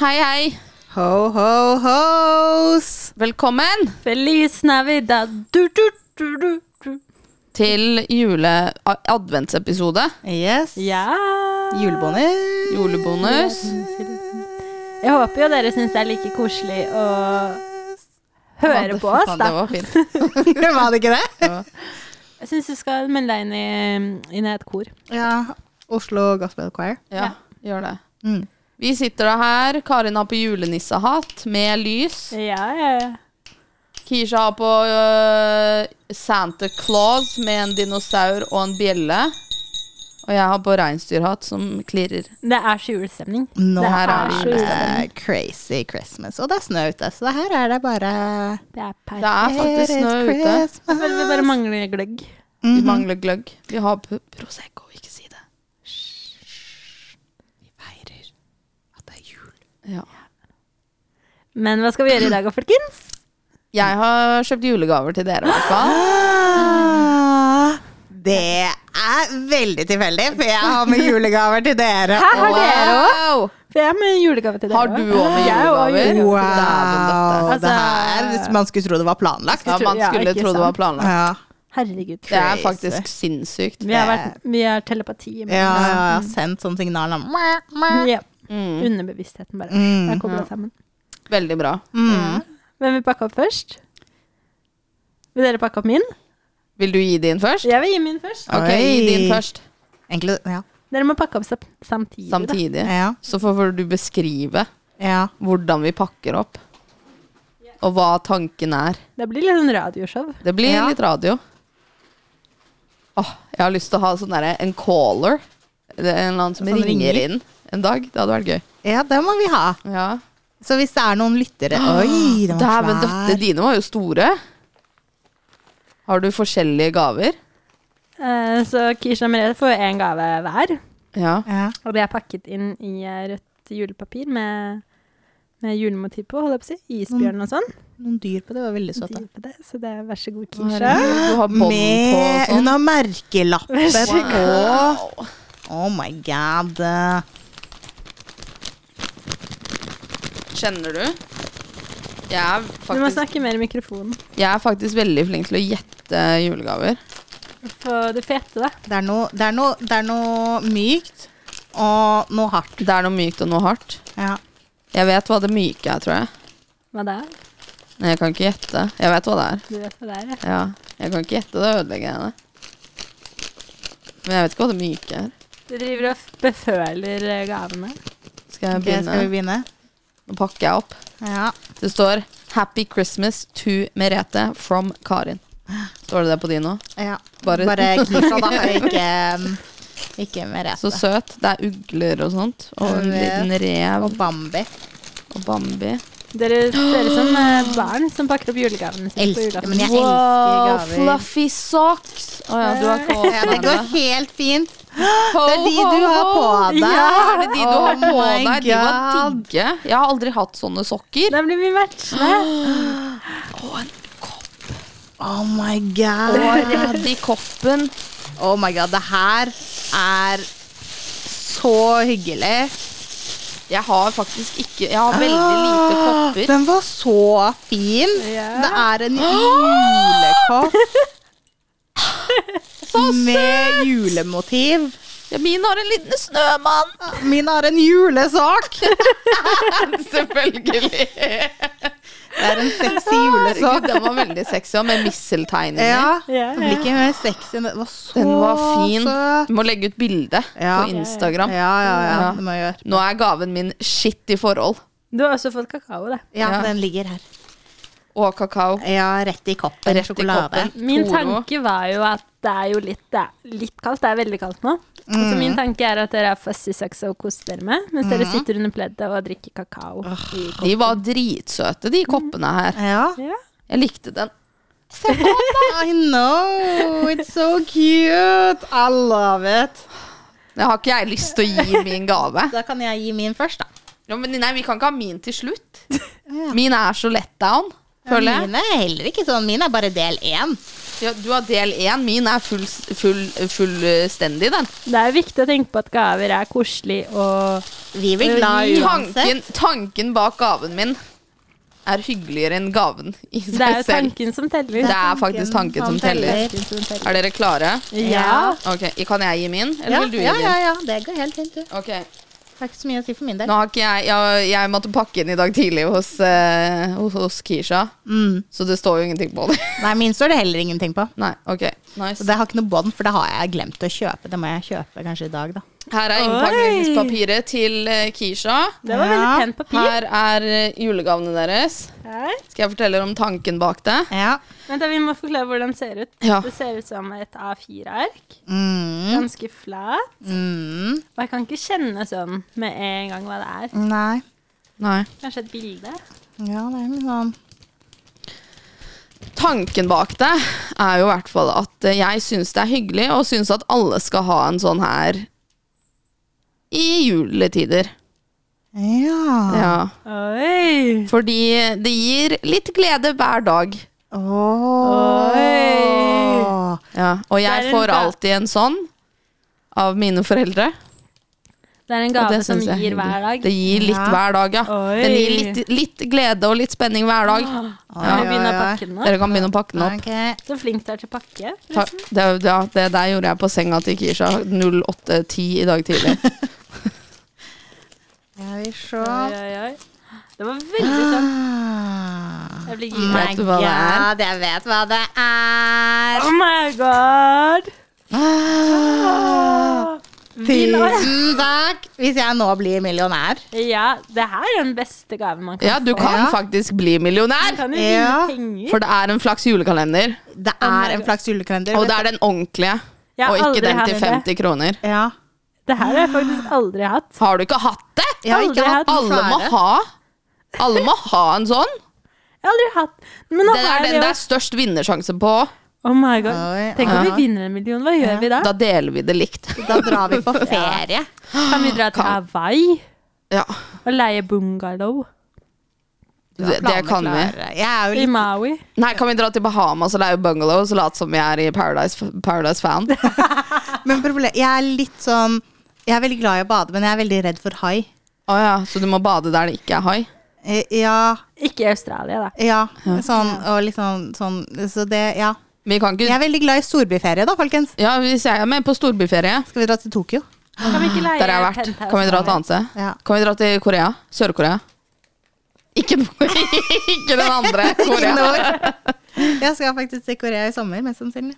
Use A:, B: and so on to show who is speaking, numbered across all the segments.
A: Hei, hei.
B: Ho, ho, hos!
A: Velkommen
C: Feliz Navidad. Du, du, du, du, du.
A: til jule-adventsepisode.
B: Yes.
C: Ja.
B: Julebonus.
A: Julebonus.
C: Jeg håper jo dere syns det er like koselig å høre på oss,
A: Det
C: da.
A: var fint.
B: Var det ikke det?
C: Jeg syns du skal melde deg inn i, inn i et kor.
B: Ja. Oslo Gospel Choir.
A: Ja, gjør det.
B: Mm.
A: Vi sitter da her. Karin har på julenissehatt med lys.
C: Ja, ja, ja.
A: Kisha har på øh, Santa Claus med en dinosaur og en bjelle. Og jeg har på reinsdyrhatt som klirrer.
C: Det er så julestemning.
B: Nå
C: det
A: her er
C: er
A: vi
C: så
B: det
C: julestemning.
B: crazy Christmas. Og det er snø ute, så det her er det bare
C: Det er
A: Det
C: perfekt.
A: er faktisk snø ute.
C: Vel, vi bare mangler gløgg.
B: Mm-hmm. Mhm.
A: Vi mangler gløgg. Vi har p- Prosecco, ikke si det. Vi feirer at det er jul. Ja.
C: Men hva skal vi gjøre i dag, folkens?
A: Jeg har kjøpt julegaver til dere, i hvert fall.
B: Ah, det er veldig tilfeldig, for jeg har med julegaver til dere.
C: Hæ, har dere òg?
A: Wow!
C: For jeg har med julegave til dere
A: Har du
C: også.
A: òg med
C: Jeg har også
A: julegaver?
C: julegave.
B: Wow.
A: Dæven
C: døtte.
B: det her, man skulle tro det var planlagt.
A: Ja, man
C: Ja,
A: skulle
C: ikke
A: tro det var
C: sant.
A: planlagt.
B: Ja,
C: Herregud.
A: Det er
B: crazy.
A: faktisk sinnssykt.
C: Vi har, vært, vi har telepati. i
B: ja, ja, ja. Sendt sånn signal om
C: munnen. Ja.
A: Mm.
C: Underbevisstheten bare.
B: Mm.
C: Der kobler det sammen.
A: Veldig bra.
B: mm.
C: Hvem vil pakke opp først? Vil dere pakke opp min?
A: Vil du gi din først?
C: Jeg vil gi min først.
A: Ok, gi din
B: Oi.
A: først.
B: Egentlig, ja.
C: Dere må pakke opp sam- samtidig. Da.
A: Samtidig.
B: Ja,
A: Så får du beskrive
B: ja.
A: hvordan vi pakker opp. Og hva tanken er.
C: Det blir litt sånn radioshow.
A: Det blir
B: Ja.
A: litt radio. Åh, jeg har lyst til å ha sånn derre en caller. Det er En eller annen som
B: Sånn
A: ringer,
B: ringer.
A: inn en dag. Det hadde vært gøy.
B: Ja, det må vi ha.
A: Ja.
B: Så hvis det er noen lyttere Oi, den var
A: Dæven døtte,
B: svær.
A: dine var jo store. Har du forskjellige gaver?
C: Eh, Så Kisha og Merete får én gave hver.
A: Ja.
B: Ja.
C: Og det er pakket inn i eh, rødt julepapir med, med julemotiv på, holder jeg på å si. Isbjørn og sånn.
B: Noen dyr på det var veldig søte.
C: De- det- Så det er vær så god, Kisha.
A: Du har bånd på og
B: Med Hun
A: sånn.
B: har merkelapper på.
A: Wow.
B: Oh my god.
A: Kjenner du? Jeg er,
C: Du må
A: faktisk,
C: snakke mer i mikrofonen.
A: jeg er faktisk veldig flink til å gjette julegaver.
C: Få det fete, da.
B: Det er noe, det er noe, det er noe mykt og noe hardt.
A: Det er noe mykt og noe hardt.
B: Ja.
A: Jeg vet hva det myke er, tror jeg.
C: Hva det er?
A: Men jeg kan ikke gjette. Jeg vet hva det er.
C: Du vet hva det er, ja.
A: Ja, jeg kan ikke gjette det, ødelegger jeg det. Men jeg vet ikke hva det myke er.
C: Du driver og f- beføler eh, gavene.
A: Skal jeg
B: Ok, skal vi
A: begynne?
B: begynne?
A: Nå pakker jeg opp.
B: Ja.
A: Det står 'Happy Christmas to Merete from Karin'. Står det det på din nå?
B: ja.
A: Bare-
B: Bare, Kisa, da. Ikke, ikke
A: Så
B: Merete.
A: søt. Det er ugler og sånt. Og en
B: Jeg
A: liten rev
B: Og Bambi.
A: og Bambi.
C: Dere ser ut som eh, barn som pakker opp julegavene sine på
B: Elsker,
C: julaften.
B: men jeg elsker
A: Wow,
B: gaver.
A: fluffy socks! Å ja, du har ikke
B: Ja, det går
A: åpna
B: helt fint. Det er de du har på deg.
C: Ja,
A: Er det de du har på
B: Oh my
A: deg? De var
B: God.
A: digge. Jeg har aldri hatt sånne sokker.
C: Da blir vi matchende.
A: Og en kopp.
B: Oh my god.
A: Og i koppen
B: Oh my god, det her er så hyggelig.
A: Jeg har faktisk ikke Jeg har veldig lite
B: Ah,
A: kopper.
B: Den var så fin. Ah!
C: Ja.
B: Det er en julekopp. Med julemotiv.
A: Ja, min har en liten snømann.
B: Min har en julesak.
A: Selvfølgelig.
B: Det er en sexy
A: Ah, Herregud,
B: julesak.
A: den var veldig sexy, og med misseltein inni.
B: Ja.
C: Ja,
B: Det
C: ja.
B: blir ikke mer sexy enn det. Den var så
A: Den var fin.
B: søt.
A: Du må legge ut bilde
B: Ja.
A: på Instagram.
B: Ja, ja, ja.
A: Ja.
B: Det må jeg gjøre.
A: Nå er gaven min skitt i forhold.
C: Du har også fått kakao, da.
B: Ja,
A: Ja.
B: den ligger her.
A: Og kakao.
B: Ja, rett i koppen.
A: Rett i
B: sjokolade.
A: koppen.
C: Min
A: Toro.
C: tanke var jo at det er jo litt, det er litt kaldt. Det er veldig kaldt nå. Så
A: Mm.
C: min tanke er at dere har fuzzy socks og koser dere med, mens dere sitter under pleddet og drikker kakao. i kopp.
A: De var dritsøte, de koppene her.
B: Ja.
C: Ja.
A: Jeg likte den.
B: Se på den! I know! It's so cute! I love it.
A: Det har ikke jeg lyst til å gi min gave.
B: Da kan jeg gi min først, da.
A: Ja, men nei, vi kan ikke ha min til slutt. Min er så let down, føler jeg.
B: Mine er heller ikke sånn. Mine er bare del én.
A: Ja, du har del én. Min er full, full, fullstendig, den.
C: Det er jo viktig å tenke på at gaver er koselig og
B: Vi blir glad uansett.
A: Tanken, tanken bak gaven min er hyggeligere enn gaven i
C: Det er
A: seg
C: jo
A: selv.
C: tanken som teller.
A: Det er faktisk tanken som teller.
C: Tanken som teller.
A: Er dere klare?
C: Ja.
A: Ok, Kan jeg gi min, eller
B: Ja,
A: vil du gi
B: ja,
A: din?
B: ja, ja. Det går helt fint, du.
A: Ok,
B: Det er ikke så mye å si for min del.
A: nå har ikke jeg, jeg Jeg måtte pakke inn i dag tidlig hos, eh, hos, hos Kisha,
B: Mm.
A: så det står jo ingenting på det.
B: Nei, min står det heller ingenting på.
A: Nei, ok,
B: Så
A: nice
B: det har ikke noe bånd, for det har jeg glemt å kjøpe. Det må jeg kjøpe kanskje i dag, da.
A: Her er
C: Oi.
A: innpakningspapiret til eh, Kisha.
C: Det var veldig
B: Ja.
C: pent papir.
A: Her er eh, julegavene deres.
C: Her.
A: Skal jeg fortelle om tanken bak det?
B: Ja.
C: Vent, da, vi må forklare hvordan det ser ut.
A: Ja.
C: Det ser ut som et A4-ark.
B: Mm.
C: Ganske flat.
B: Mm.
C: Og jeg kan ikke kjenne sånn med en gang hva det er.
B: Nei.
A: Nei.
C: Kanskje et bilde?
B: Ja, det er litt sånn
A: Tanken bak det er jo i hvert fall at eh, jeg syns det er hyggelig, og syns at alle skal ha en sånn her i juletider.
B: Ja.
A: Ja.
C: Oi!
A: Fordi det gir litt glede hver dag.
B: Åh.
C: Oi.
A: Ja. Og
C: Det er
A: jeg
C: en
A: får
C: ga-
A: alltid en sånn av mine foreldre.
C: Det er en
A: Og
C: gave
A: det
C: som
A: syns jeg er
C: gir hver
A: hyggelig.
C: dag.
A: Det gir litt
B: Ja.
A: hver dag, ja.
C: Oi.
A: Den gir litt, litt glede og litt spenning hver dag.
C: Kan vi begynne å
B: Oi, oi, oi.
C: pakke den opp?
A: Dere kan begynne å pakke den opp.
B: Ok.
C: Så flink du er til å pakke.
A: Ta, det, ja, det der gjorde jeg på senga til Kisha 08.10 i dag tidlig.
B: Jeg vil se.
C: Oi, oi, oi. Det var veldig sånn.
B: Ah.
C: Jeg blir gira.
A: Ah. Vet du hva det er?
B: God, jeg vet hva det er.
C: Oh my god!
B: Ah.
C: Vinn og-
B: Tusen takk! Hvis jeg nå blir millionær.
C: Ja, det her er den beste gaven man kan
A: Ja, du kan
B: Ja.
A: faktisk bli
C: Man
A: millionær!
C: kan jo
B: Ja.
C: vinne penger.
A: For det er en flaks julekalender,
B: Det
C: my
B: er en
C: God.
B: flaks julekalender.
A: og det er den ordentlige.
C: Jeg har
A: Og ikke
C: aldri
A: den
C: hatt
A: til
C: det.
A: 50 kroner.
B: Ja.
C: Det her har jeg faktisk aldri hatt.
A: Har du ikke hatt det?
B: Jeg har ikke
C: Aldri hatt
B: hatt noen
A: Alle må
B: flere.
A: ha Alle må ha en sånn.
C: Jeg har aldri hatt Men nå
A: Det er
C: har
A: den
C: jeg
A: det
C: jo
A: er størst vinnersjanse på.
C: Oh my god.
B: Oi,
C: Tenk om
A: ja.
C: vi vinner en million. Hva gjør vi da?
A: Da deler vi det likt.
B: Da drar vi på ferie.
C: Kan vi dra til Hawaii
A: Ja,
C: og leie bungalow
A: det, det kan vi.
B: Planeklare. Jeg er jo
C: i
B: litt
C: Maui?
A: Nei, kan vi dra til Bahamas og leie bungalow og late som vi er i Paradise, Paradise Found?
B: Men problem, jeg er litt sånn Jeg er veldig glad i å bade, men jeg er veldig redd for hai.
A: Å ja, så du må bade der det ikke er hai?
B: Eh, Ja,
C: Ikke i Australia, da.
B: ja. Sånn og liksom sånn Så det, ja.
A: Vi kan
B: Jeg
A: ikke
B: er veldig glad i storbyferie, da, folkens.
A: Ja, hvis jeg er med på storbyferie,
B: Skal vi dra til Tokyo?
C: Kan vi ikke leie
A: Ah, der jeg har vært,
C: penthouse
A: kan vi dra et
C: der?
A: annet sted?
B: Ja.
A: Kan vi dra til Korea? Sør-Korea? Ikke, no- ikke den andre
B: Ikke
A: Korea.
B: noe. Jeg skal faktisk til Korea i sommer, mest sannsynlig.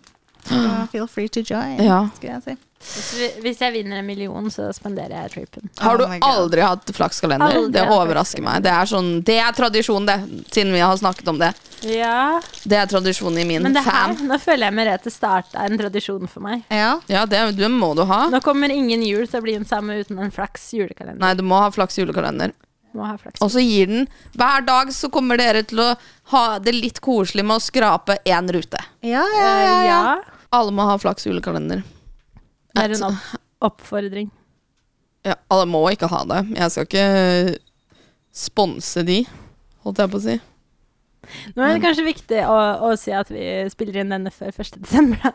B: Så Feel free to join,
A: Ja.
B: skulle jeg si.
C: Hvis vi- Hvis jeg vinner en million, så spenderer jeg tripen.
A: Har du
B: Oh my God.
A: aldri hatt flakskalender?
C: Aldri
A: det
C: hatt
A: overrasker meg. Det er, sånn, det er tradisjon, det, siden vi har snakket om det.
C: Ja,
A: Det er tradisjon i min
C: Men det her,
A: fan.
C: nå føler jeg Merete starta en tradisjon for meg.
B: Ja.
A: Ja, det, det må du ha.
C: Nå kommer ingen jul til å bli den samme uten en flaks julekalender.
A: Nei, du må ha flaks julekalender.
C: Må ha flaks.
A: Og så gir den Hver dag så kommer dere til å ha det litt koselig med å skrape én rute.
B: Ja, ja,
C: Eh,
B: ja, ja.
C: ja.
A: Alle må ha flaks julekalender.
C: Det er en opp oppfordring.
A: Ja, alle må ikke ha det. Jeg skal ikke sponse de, holdt jeg på å si.
C: Nå er det kanskje viktig å, å si at vi spiller inn denne før 1. desember. da.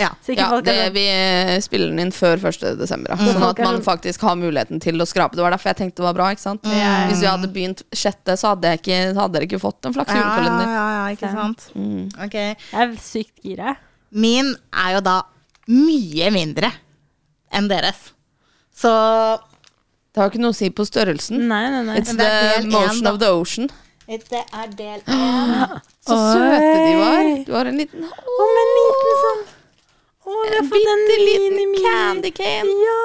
B: ja.
C: Så ikke
A: Ja,
C: folk
A: det,
C: er sånn,
A: vi spiller den inn før 1. desember, da. sånn at man faktisk har muligheten til å skrape. Det var derfor jeg tenkte det var bra. ikke sant?
C: Mm. Ja, ja.
A: Hvis vi hadde begynt 6., så hadde, jeg ikke, hadde dere ikke fått en flaks
B: Ja, ja,
A: julekalender.
B: ja, ja, ikke sant. Ok.
C: Jeg er sykt gira.
B: Min er jo da mye mindre enn deres. Så
A: Det har jo ikke noe å si på størrelsen.
C: Nei, nei, nei.
A: It's
B: Men det er
A: the
B: del én,
A: motion
B: da.
A: of the ocean.
B: det er del én.
A: Så
C: Oi.
A: søte de var. Du har en liten
C: Å, men liten sånn. Å, vi har fått en
A: bitte liten
C: mini-mini.
A: candy cane.
C: Ja.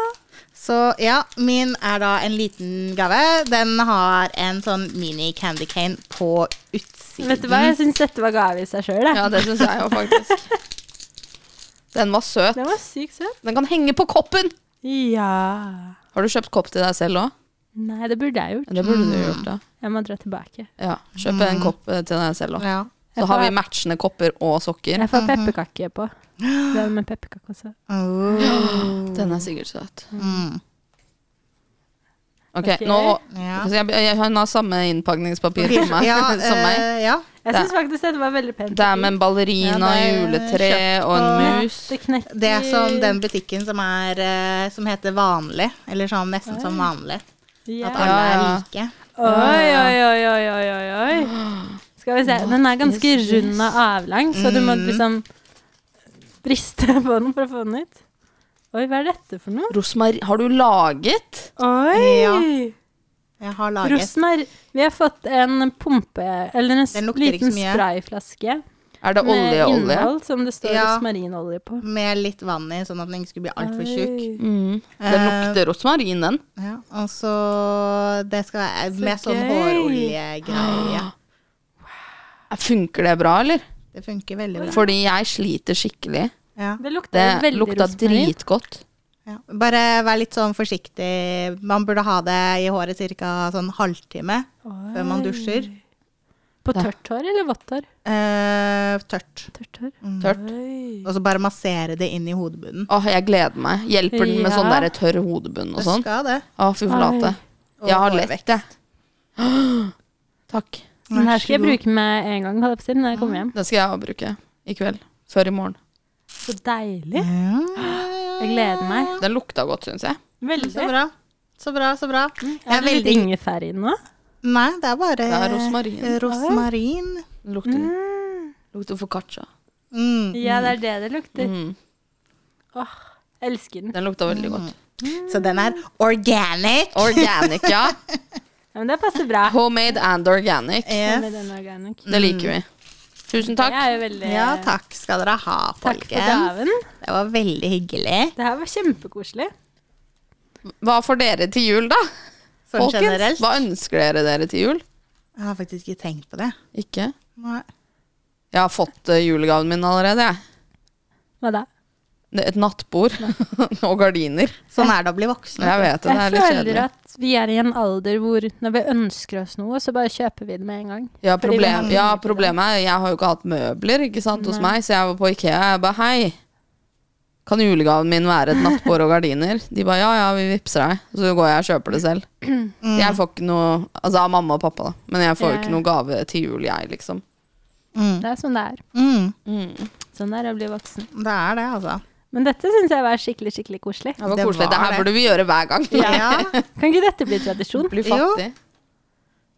B: Så ja, min er da en liten gave. Den har en sånn mini candy cane på utsiden.
C: Vet du hva, jeg syns dette var gave i seg sjøl.
A: Ja, det syns jeg jo faktisk. Den var søt.
C: Den var sykt søt.
A: Den kan henge på koppen!
C: Ja.
A: Har du kjøpt kopp til deg selv Mm. òg?
C: Nei, det burde jeg gjort.
A: Det burde du gjort, da.
C: Jeg må dra tilbake.
A: Ja, kjøp en kopp eh, til deg selv òg.
B: Ja.
A: Så har vi matchende kopper og sokker.
C: Jeg får pepperkake på. Den med pepperkake også.
A: Den er sikkert søt.
B: Oh. Mm.
A: Ok,
C: Ok.
A: nå
B: Ja.
A: så jeg, jeg, Hun har samme innpakningspapir for meg,
B: Ja,
A: som meg.
B: eh, ja.
C: Jeg
A: Det-
C: syns faktisk dette var veldig pent.
A: Det er med en ballerina,
B: Ja, det er
A: juletre
B: kjøpt
A: og en
B: på-
A: mus.
C: Det knekker
B: Det er som den butikken som, er, eh, som heter Vanlig, eller sånn nesten som vanlig.
C: Ja.
B: At alle er
A: Ja, ja.
B: like.
C: Oi, oi, oi, oi, oi, oi, oi. Skal vi se. Den er ganske
A: is this?
C: rund og avlang, så du må
B: Mm.
C: liksom briste på den for å få den ut. Oi, hva er dette for noe?
A: Rosmarin Har du laget?
C: Oi!
B: Ja. Jeg har laget
C: Rosmar, vi har fått en pumpe, eller en s-
B: Den lukter ikke
C: liten
B: så mye.
C: sprayflaske
A: Er det
C: med
A: olje og olje?
C: innhold som det står
B: Ja.
C: rosmarinolje på.
B: med litt vann i, sånn at den ikke skulle bli altfor tjukk. Eh,
C: Oi.
A: Mm. Den lukter rosmarin, den.
B: Ja, og så Det skal være
C: Så
B: med sånn
C: gøy.
B: håroljegreie.
A: Eh, Funker det bra, eller?
B: Det funker veldig bra.
A: Fordi jeg sliter skikkelig.
B: Ja.
C: Det lukter
A: Det
C: veldig
A: lukta
C: rosmarin.
A: dritgodt.
B: Ja. Bare vær litt sånn forsiktig. Man burde ha det i håret ca. sånn halvtime
C: Oi.
B: før man dusjer.
C: På tørt hår eller vått hår?
B: Eh, tørt.
C: Tørt hår.
A: Tørt.
C: Oi.
B: Og så bare massere det inn i hodebunnen.
A: Åh, jeg gleder meg. Hjelper den med
C: Ja.
A: sånn der tørr hodebunn og
B: Det
A: sånn?
B: skal det.
A: Å, fy flate.
C: Oi.
B: Og
A: Jeg har lett,
B: hårvekst.
A: jeg. Takk.
C: Den her skal jeg
B: Vær så god. Mm.
C: bruke med en gang holdt jeg på å si, når jeg kommer hjem.
A: Den skal jeg også bruke i kveld. Før i morgen.
C: Så deilig.
B: Ja.
C: Jeg gleder meg.
A: Den lukta godt, syns jeg.
C: Veldig.
B: Så bra. Så bra, så bra.
A: Mm.
B: Jeg
C: Er
B: er
C: det litt
B: veldig
C: ingefær i den nå?
B: Nei, det er bare eh,
A: Det er rosmarin.
B: rosmarin.
A: Den lukter, lukter foccaccia.
B: Mm.
C: Ja, det er det det lukter.
A: Mm.
C: Åh, elsker den.
A: Den lukta veldig godt.
B: Så den er organic.
A: Organic, ja.
C: Ja, men det passer bra.
A: Homemade and organic.
C: Med
B: Yes.
C: den organic.
A: Det liker vi. Tusen
C: Jeg
A: takk.
C: er jo veldig
B: Ja, takk skal dere ha,
C: Takk for
B: folkens.
C: gaven.
B: Det var veldig hyggelig.
C: Det her var kjempekoselig.
A: Hva får dere til jul, da?
B: Sånn
A: Folkens,
B: generelt.
A: hva ønsker dere dere til jul?
B: Jeg har faktisk ikke tenkt på det.
A: Ikke?
B: Nei.
A: Jeg har fått eh, julegaven min allerede, jeg.
C: Hva da?
A: Det- Et nattbord og gardiner.
B: Sånn er det å bli voksen.
A: Jeg vet det, det
C: Jeg
A: er litt
C: føler
A: kjedelig.
C: at vi er i en alder hvor når vi ønsker oss noe, så bare kjøper vi det med en gang.
A: Ja,
C: fordi vi har
A: problem, ja, problemet er Jeg har jo ikke hatt møbler ikke sant, hos meg, så jeg var på Ikea. Jeg ba hei, kan julegaven min være et nattbord og gardiner? De ba ja, ja, vi vippser deg. Så går jeg og kjøper det selv. Jeg får ikke noe Altså av mamma og pappa, da. Men jeg får jo
C: Ja,
A: ikke
C: ja.
A: noe gave til jul, jeg, liksom.
B: Mm.
C: Det er sånn det er.
B: Mm.
C: Sånn det er å bli voksen.
B: Det er det, altså.
C: Men dette syns jeg var skikkelig, skikkelig koselig.
A: Det var
B: Det
A: koselig.
B: var
A: Det her
B: det.
A: burde vi gjøre hver gang.
C: Ja.
B: Ja.
C: Kan ikke dette bli tradisjon?
A: Bli
B: Jo.
A: fattig.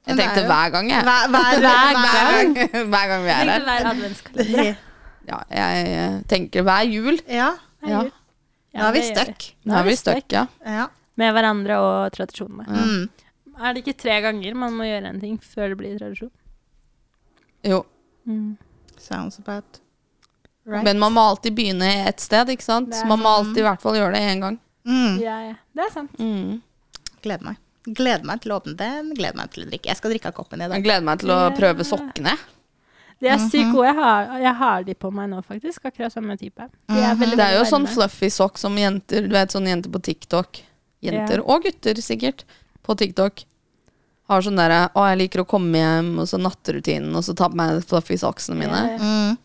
B: Men
A: Jeg
B: det er
A: tenkte
B: jo-
A: hver gang, jeg.
B: Hver, hver,
C: Hver
B: hver
A: Hver gang, hver gang vi er her.
C: Tenkte hver adventskalender.
A: Ja, jeg eh, tenker hver jul.
B: Ja.
A: Ja.
B: Nå er vi
C: det gjør
B: stuck.
A: Nå er vi stuck, ja.
B: Ja.
C: Med hverandre og tradisjonene.
B: Mm.
C: Er det ikke tre ganger man må gjøre en ting før det blir tradisjon?
A: Jo.
C: Mm.
B: Sounds about right.
A: Men man må alltid begynne et sted, ikke sant?
C: Det
A: Så
C: er sånn-
A: man må alltid i hvert fall gjøre det én gang.
B: Mm.
C: Ja, ja. Det er sant.
A: Mm.
B: Gleder meg. Gleder meg til å åpne den. Gleder meg til å drikke. Jeg skal drikke av koppen i
A: Jeg
B: dag.
A: gleder meg til å
C: Ja.
A: prøve sokkene.
C: De
A: Mhm.
C: er sykt gode. Jeg har, jeg har de på meg nå, faktisk. Akkurat samme type. De er veldig,
A: Det er jo
C: veldig
A: sånn
C: varme.
A: fluffy sokk som jenter Du vet, sånne jenter på TikTok. Jenter og gutter, sikkert, på TikTok. Har sånn derre Å, jeg liker å komme hjem, og så nattrutinen, og så ta på meg fluffy socksene mine.
C: Ja, ja.
B: Mm.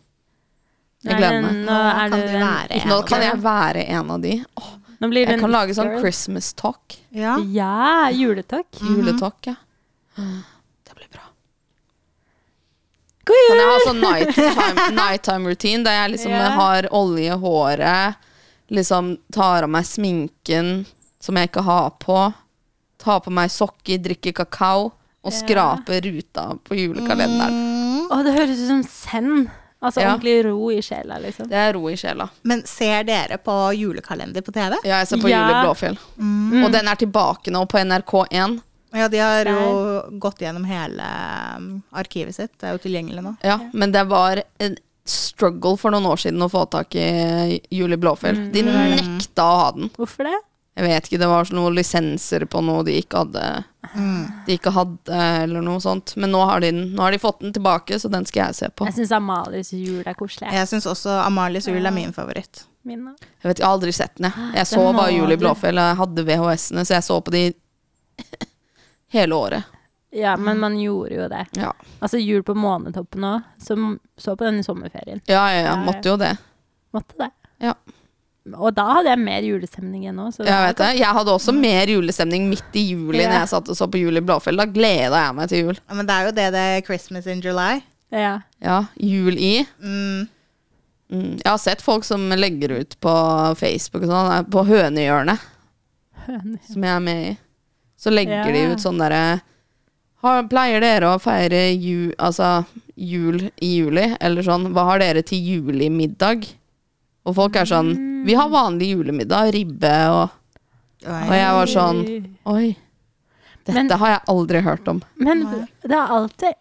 A: Jeg gleder meg.
C: Nå, er
B: kan
C: du
B: du
C: en-
B: være en
A: Nå
B: av
A: kan
B: dem.
A: jeg være en av de. Åh,
C: nå blir du
A: jeg
C: en
A: kan lage sånn
C: girl.
A: Christmas talk.
B: Ja.
C: Ja, juletalk.
A: Juletalk, ja. Mhm. Det blir bra.
C: God
A: Kan
C: jul!
A: jeg ha sånn nighttime, nighttime routine der jeg liksom
C: Ja.
A: har olje i håret, liksom tar av meg sminken som jeg ikke har på, tar på meg sokker, drikker kakao og skraper ruta på julekalenderen.
B: Mm.
C: Å, det høres ut som send. Altså
A: Ja.
C: ordentlig ro i sjela, liksom.
A: Det er ro i sjela.
B: Men ser dere på julekalender på TV?
A: Ja, jeg ser på
C: Ja. Mm.
A: Jul i Blåfjell. Og den er tilbake nå på NRK1.
B: Ja, de har jo gått gjennom hele um, arkivet sitt. Det er jo tilgjengelig nå.
A: Ja, men det var en struggle for noen år siden å få tak i Jul i Blåfjell. De nekta å ha den.
C: Hvorfor det?
A: Jeg vet ikke, det var sånn noen lisenser på noe de ikke hadde
B: Mm.
A: De ikke hadde eller noe sånt Men nå har, de, den- nå har de fått den tilbake, så den skal jeg se på
C: Jeg syns Amalies jul er koselig.
B: Jeg syns også Amalies jul er min favoritt.
C: Min, da.
A: Jeg vet, jeg har aldri sett den, jeg Jeg så
C: Den må
A: bare Jul i
C: du.
A: Blåfjell, og jeg hadde VHS-ene Så jeg så på de hele året
C: Ja,
A: Mm.
C: men man gjorde jo det.
A: Ja.
C: Altså Jul på Månetoppen òg, som så på den i sommerferien.
A: Ja, ja, ja.
C: ja.
A: Måtte jo det.
C: Måtte det.
A: Ja.
C: Og da hadde jeg mer julestemning enn nå. Så
A: Jeg vet det. Jeg hadde også mer julestemning midt i juli
C: Ja.
A: når jeg satt og så på Jul i Blåfjell. Da gleda jeg meg til jul.
B: Ja, Men det er jo det det er Christmas in July.
C: Ja.
A: Ja, jul i.
B: Mm.
A: Mm. Jeg har sett folk som legger ut på Facebook og sånn, på Hønehjørnet,
C: Høner.
A: som jeg er med i. Så legger
C: Ja.
A: de ut sånn derre har- Pleier dere å feire ju, altså, jul i juli? Eller sånn Hva har dere til julemiddag? Og folk er sånn Vi har vanlig julemiddag, ribbe og Og jeg var sånn Oi. Dette
C: Men-
A: har jeg aldri hørt om.
C: Men
B: Nei.
C: det er alltid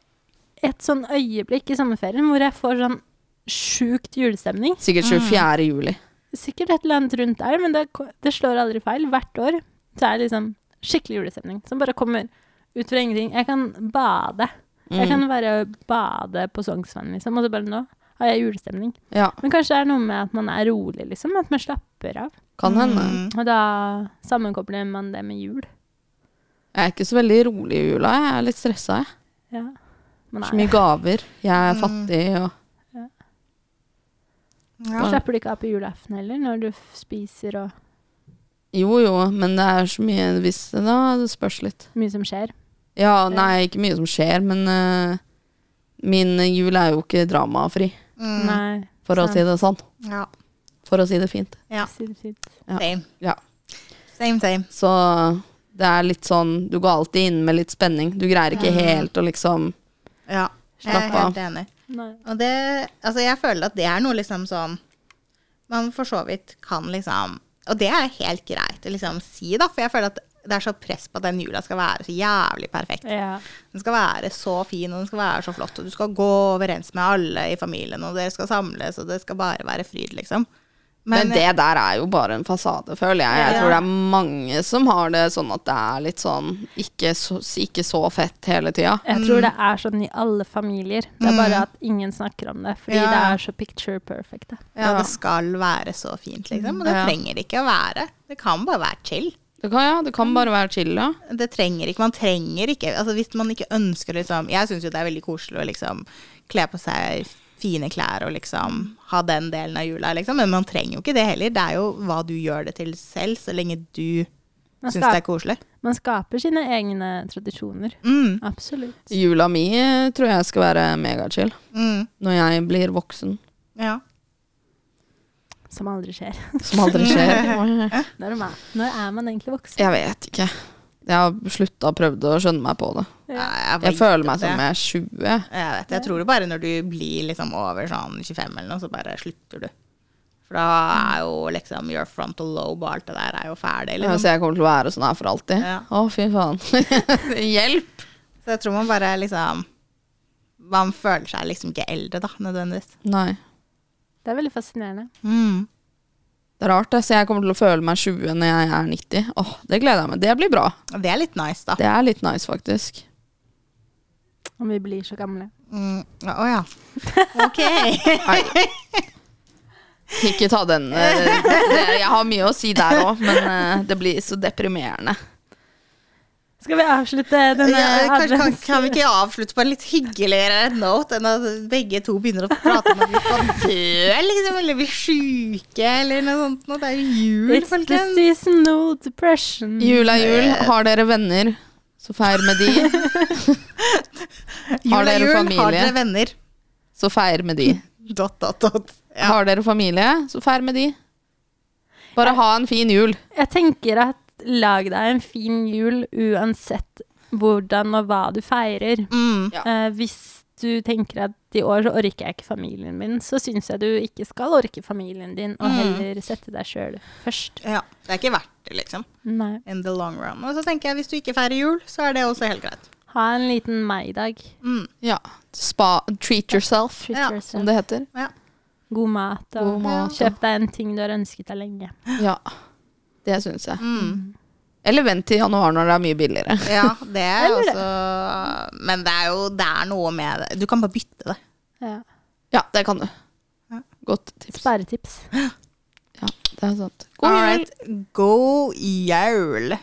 C: et sånn øyeblikk i sommerferien hvor jeg får sånn sjukt julestemning.
A: Sikkert 24. juli.
C: Sikkert et eller annet rundt der, men det, ko- det slår aldri feil. Hvert år så er det liksom skikkelig julestemning som bare kommer ut fra ingenting. Jeg kan bade.
A: Mm.
C: Jeg kan bare bade på Sognsvann, liksom, og så bare nå har jeg julestemning.
A: Ja,
C: Men kanskje det er noe med at man er rolig, liksom. At man slapper av.
A: kan hende.
B: Mm.
C: Og da sammenkobler man det med jul.
A: Jeg er ikke så veldig rolig i jula. Jeg er litt stressa. Jeg.
C: Ja. Man
A: Så
C: er
A: mye gaver. Jeg
C: Mm.
A: er fattig og
B: Ja.
C: Så slapper du ikke av på julaften heller, når du f- spiser og
A: Jo, jo, men det er så mye hvis det da, det spørs litt.
C: mye som skjer.
A: Ja, nei, ikke mye som skjer, men eh, min jul er jo ikke dramafri,
B: Mm.
C: Nei.
A: for å
C: Sant.
A: si det sånn.
B: ja.
A: For å si det fint.
B: Ja.
C: Fint, fint.
A: Ja.
B: Same.
A: Ja.
B: Same, same.
A: Så det er litt sånn, du går alltid inn med litt spenning. Du greier ikke helt å liksom
B: Ja. Jeg er
A: Slapp av.
B: helt enig.
C: Nei.
B: Og det, altså jeg føler at det er noe liksom sånn Man for så vidt kan liksom Og det er helt greit å liksom si, da, for jeg føler at det er så press på at den jula skal være så jævlig perfekt.
C: Ja.
B: Den skal være så fin, og den skal være så flott, og du skal gå overens med alle i familien, og dere skal samles, og det skal bare være fryd, liksom.
A: Men, det der er jo bare en fasade, føler jeg. Jeg
B: Ja.
A: tror det er mange som har det sånn at det er litt sånn ikke så, ikke så fett hele tida.
C: Jeg
B: Mm.
C: tror det er sånn i alle familier. Det er bare at ingen snakker om det, fordi
B: Ja.
C: det er så picture perfect. Da.
B: ja, det skal være så fint, liksom. Og det
A: Ja.
B: trenger det ikke å være. Det kan bare være chill.
A: Det kan, ja, det kan bare være chill, ja.
B: Det trenger ikke, Man trenger ikke altså Hvis man ikke ønsker liksom Jeg syns jo det er veldig koselig å liksom kle på seg fine klær og liksom ha den delen av jula, liksom. Men man trenger jo ikke det heller. Det er jo hva du gjør det til selv, så lenge du
C: Man,
B: syns det
C: skaper,
B: er koselig.
C: man skaper sine egne tradisjoner.
B: Mm,
C: Absolutt.
A: Jula mi eh, tror jeg skal være megachill
B: mm,
A: når jeg blir voksen,
B: ja.
C: Som aldri skjer.
A: som aldri skjer.
C: Når er man, når er man egentlig voksen?
A: Jeg vet ikke. Jeg har slutta å prøve å skjønne meg på det.
B: ja
A: Jeg
B: vet
A: føler meg
B: det.
A: som jeg er 20.
B: Jeg vet, jeg tror det bare når du blir liksom over sånn 25 eller noe, så bare slutter du. For da er jo liksom your frontal lobe og alt det der er jo ferdig.
A: Ja,
B: Liksom.
A: Så jeg kommer til å være sånn her for alltid.
B: Ja.
A: Å, fy faen. Hjelp!
B: Så jeg tror man bare liksom Man føler seg liksom ikke eldre, da, nødvendigvis.
A: Nei.
C: Det er veldig fascinerende.
B: Mm.
A: Det er rart, det. Så jeg kommer til å føle meg 20 når jeg er 90. Åh, Det gleder jeg meg. Det blir bra.
B: Og det er litt nice, da.
A: Det er litt nice, faktisk.
C: Om vi blir så gamle.
B: Mm. Å ja. Ok.
A: Nei. Ikke ta den. eh, Det, jeg har mye å si der òg, men eh, det blir så deprimerende.
C: Skal vi avslutte denne
B: Ja, kan, kan,
C: advents...
B: kan vi ikke avslutte på en litt hyggeligere note enn at begge to begynner å prate om at vi skal dø, liksom, eller bli sjuke, eller noe sånt? Nå, det er jo jul,
C: It's the
B: folkens.
C: season no depression.
A: Jul er jul. Har dere venner, så feir med de. Har
B: Jul er
A: dere
B: jul, har
A: familie?
B: dere venner?
A: Så feir med de.
B: Dot, dot, dot. Ja.
A: Har dere familie, så feir med de. Bare ha en fin jul.
C: Jeg tenker at lag deg en fin jul uansett hvordan og hva du feirer.
B: Mm.
A: Ja.
C: Eh, hvis du tenker at i år så orker jeg ikke familien min, så syns jeg du ikke skal orke familien din, og
A: Mm.
C: heller sette deg sjøl først.
B: ja. Det er ikke verdt det, liksom.
C: Nei.
B: In the long run. Og så tenker jeg hvis du ikke feirer jul, så er det også helt greit.
C: Ha en liten meg-dag.
B: Mm.
A: Ja. Spa, treat yourself,
C: Treat
B: Ja,
A: som
C: yourself.
A: det heter.
B: Ja.
C: God mat, og
A: God mat, og-
C: kjøp deg en ting du har ønsket deg lenge.
A: Ja. Det syns jeg.
B: Mm.
A: Eller vent til januar når det er mye billigere.
B: ja, det er
C: Eller det.
B: også Men det er jo det er noe med det. Du kan bare bytte det.
C: Ja.
A: Ja, det kan du.
B: Ja.
A: Godt tips.
C: Sparetips.
A: Ja, det er sant. God jul!
B: All right. God jul!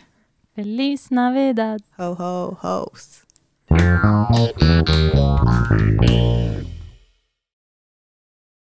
C: Feliz Navidad.
B: Ho, ho, hos.
D: Thank you.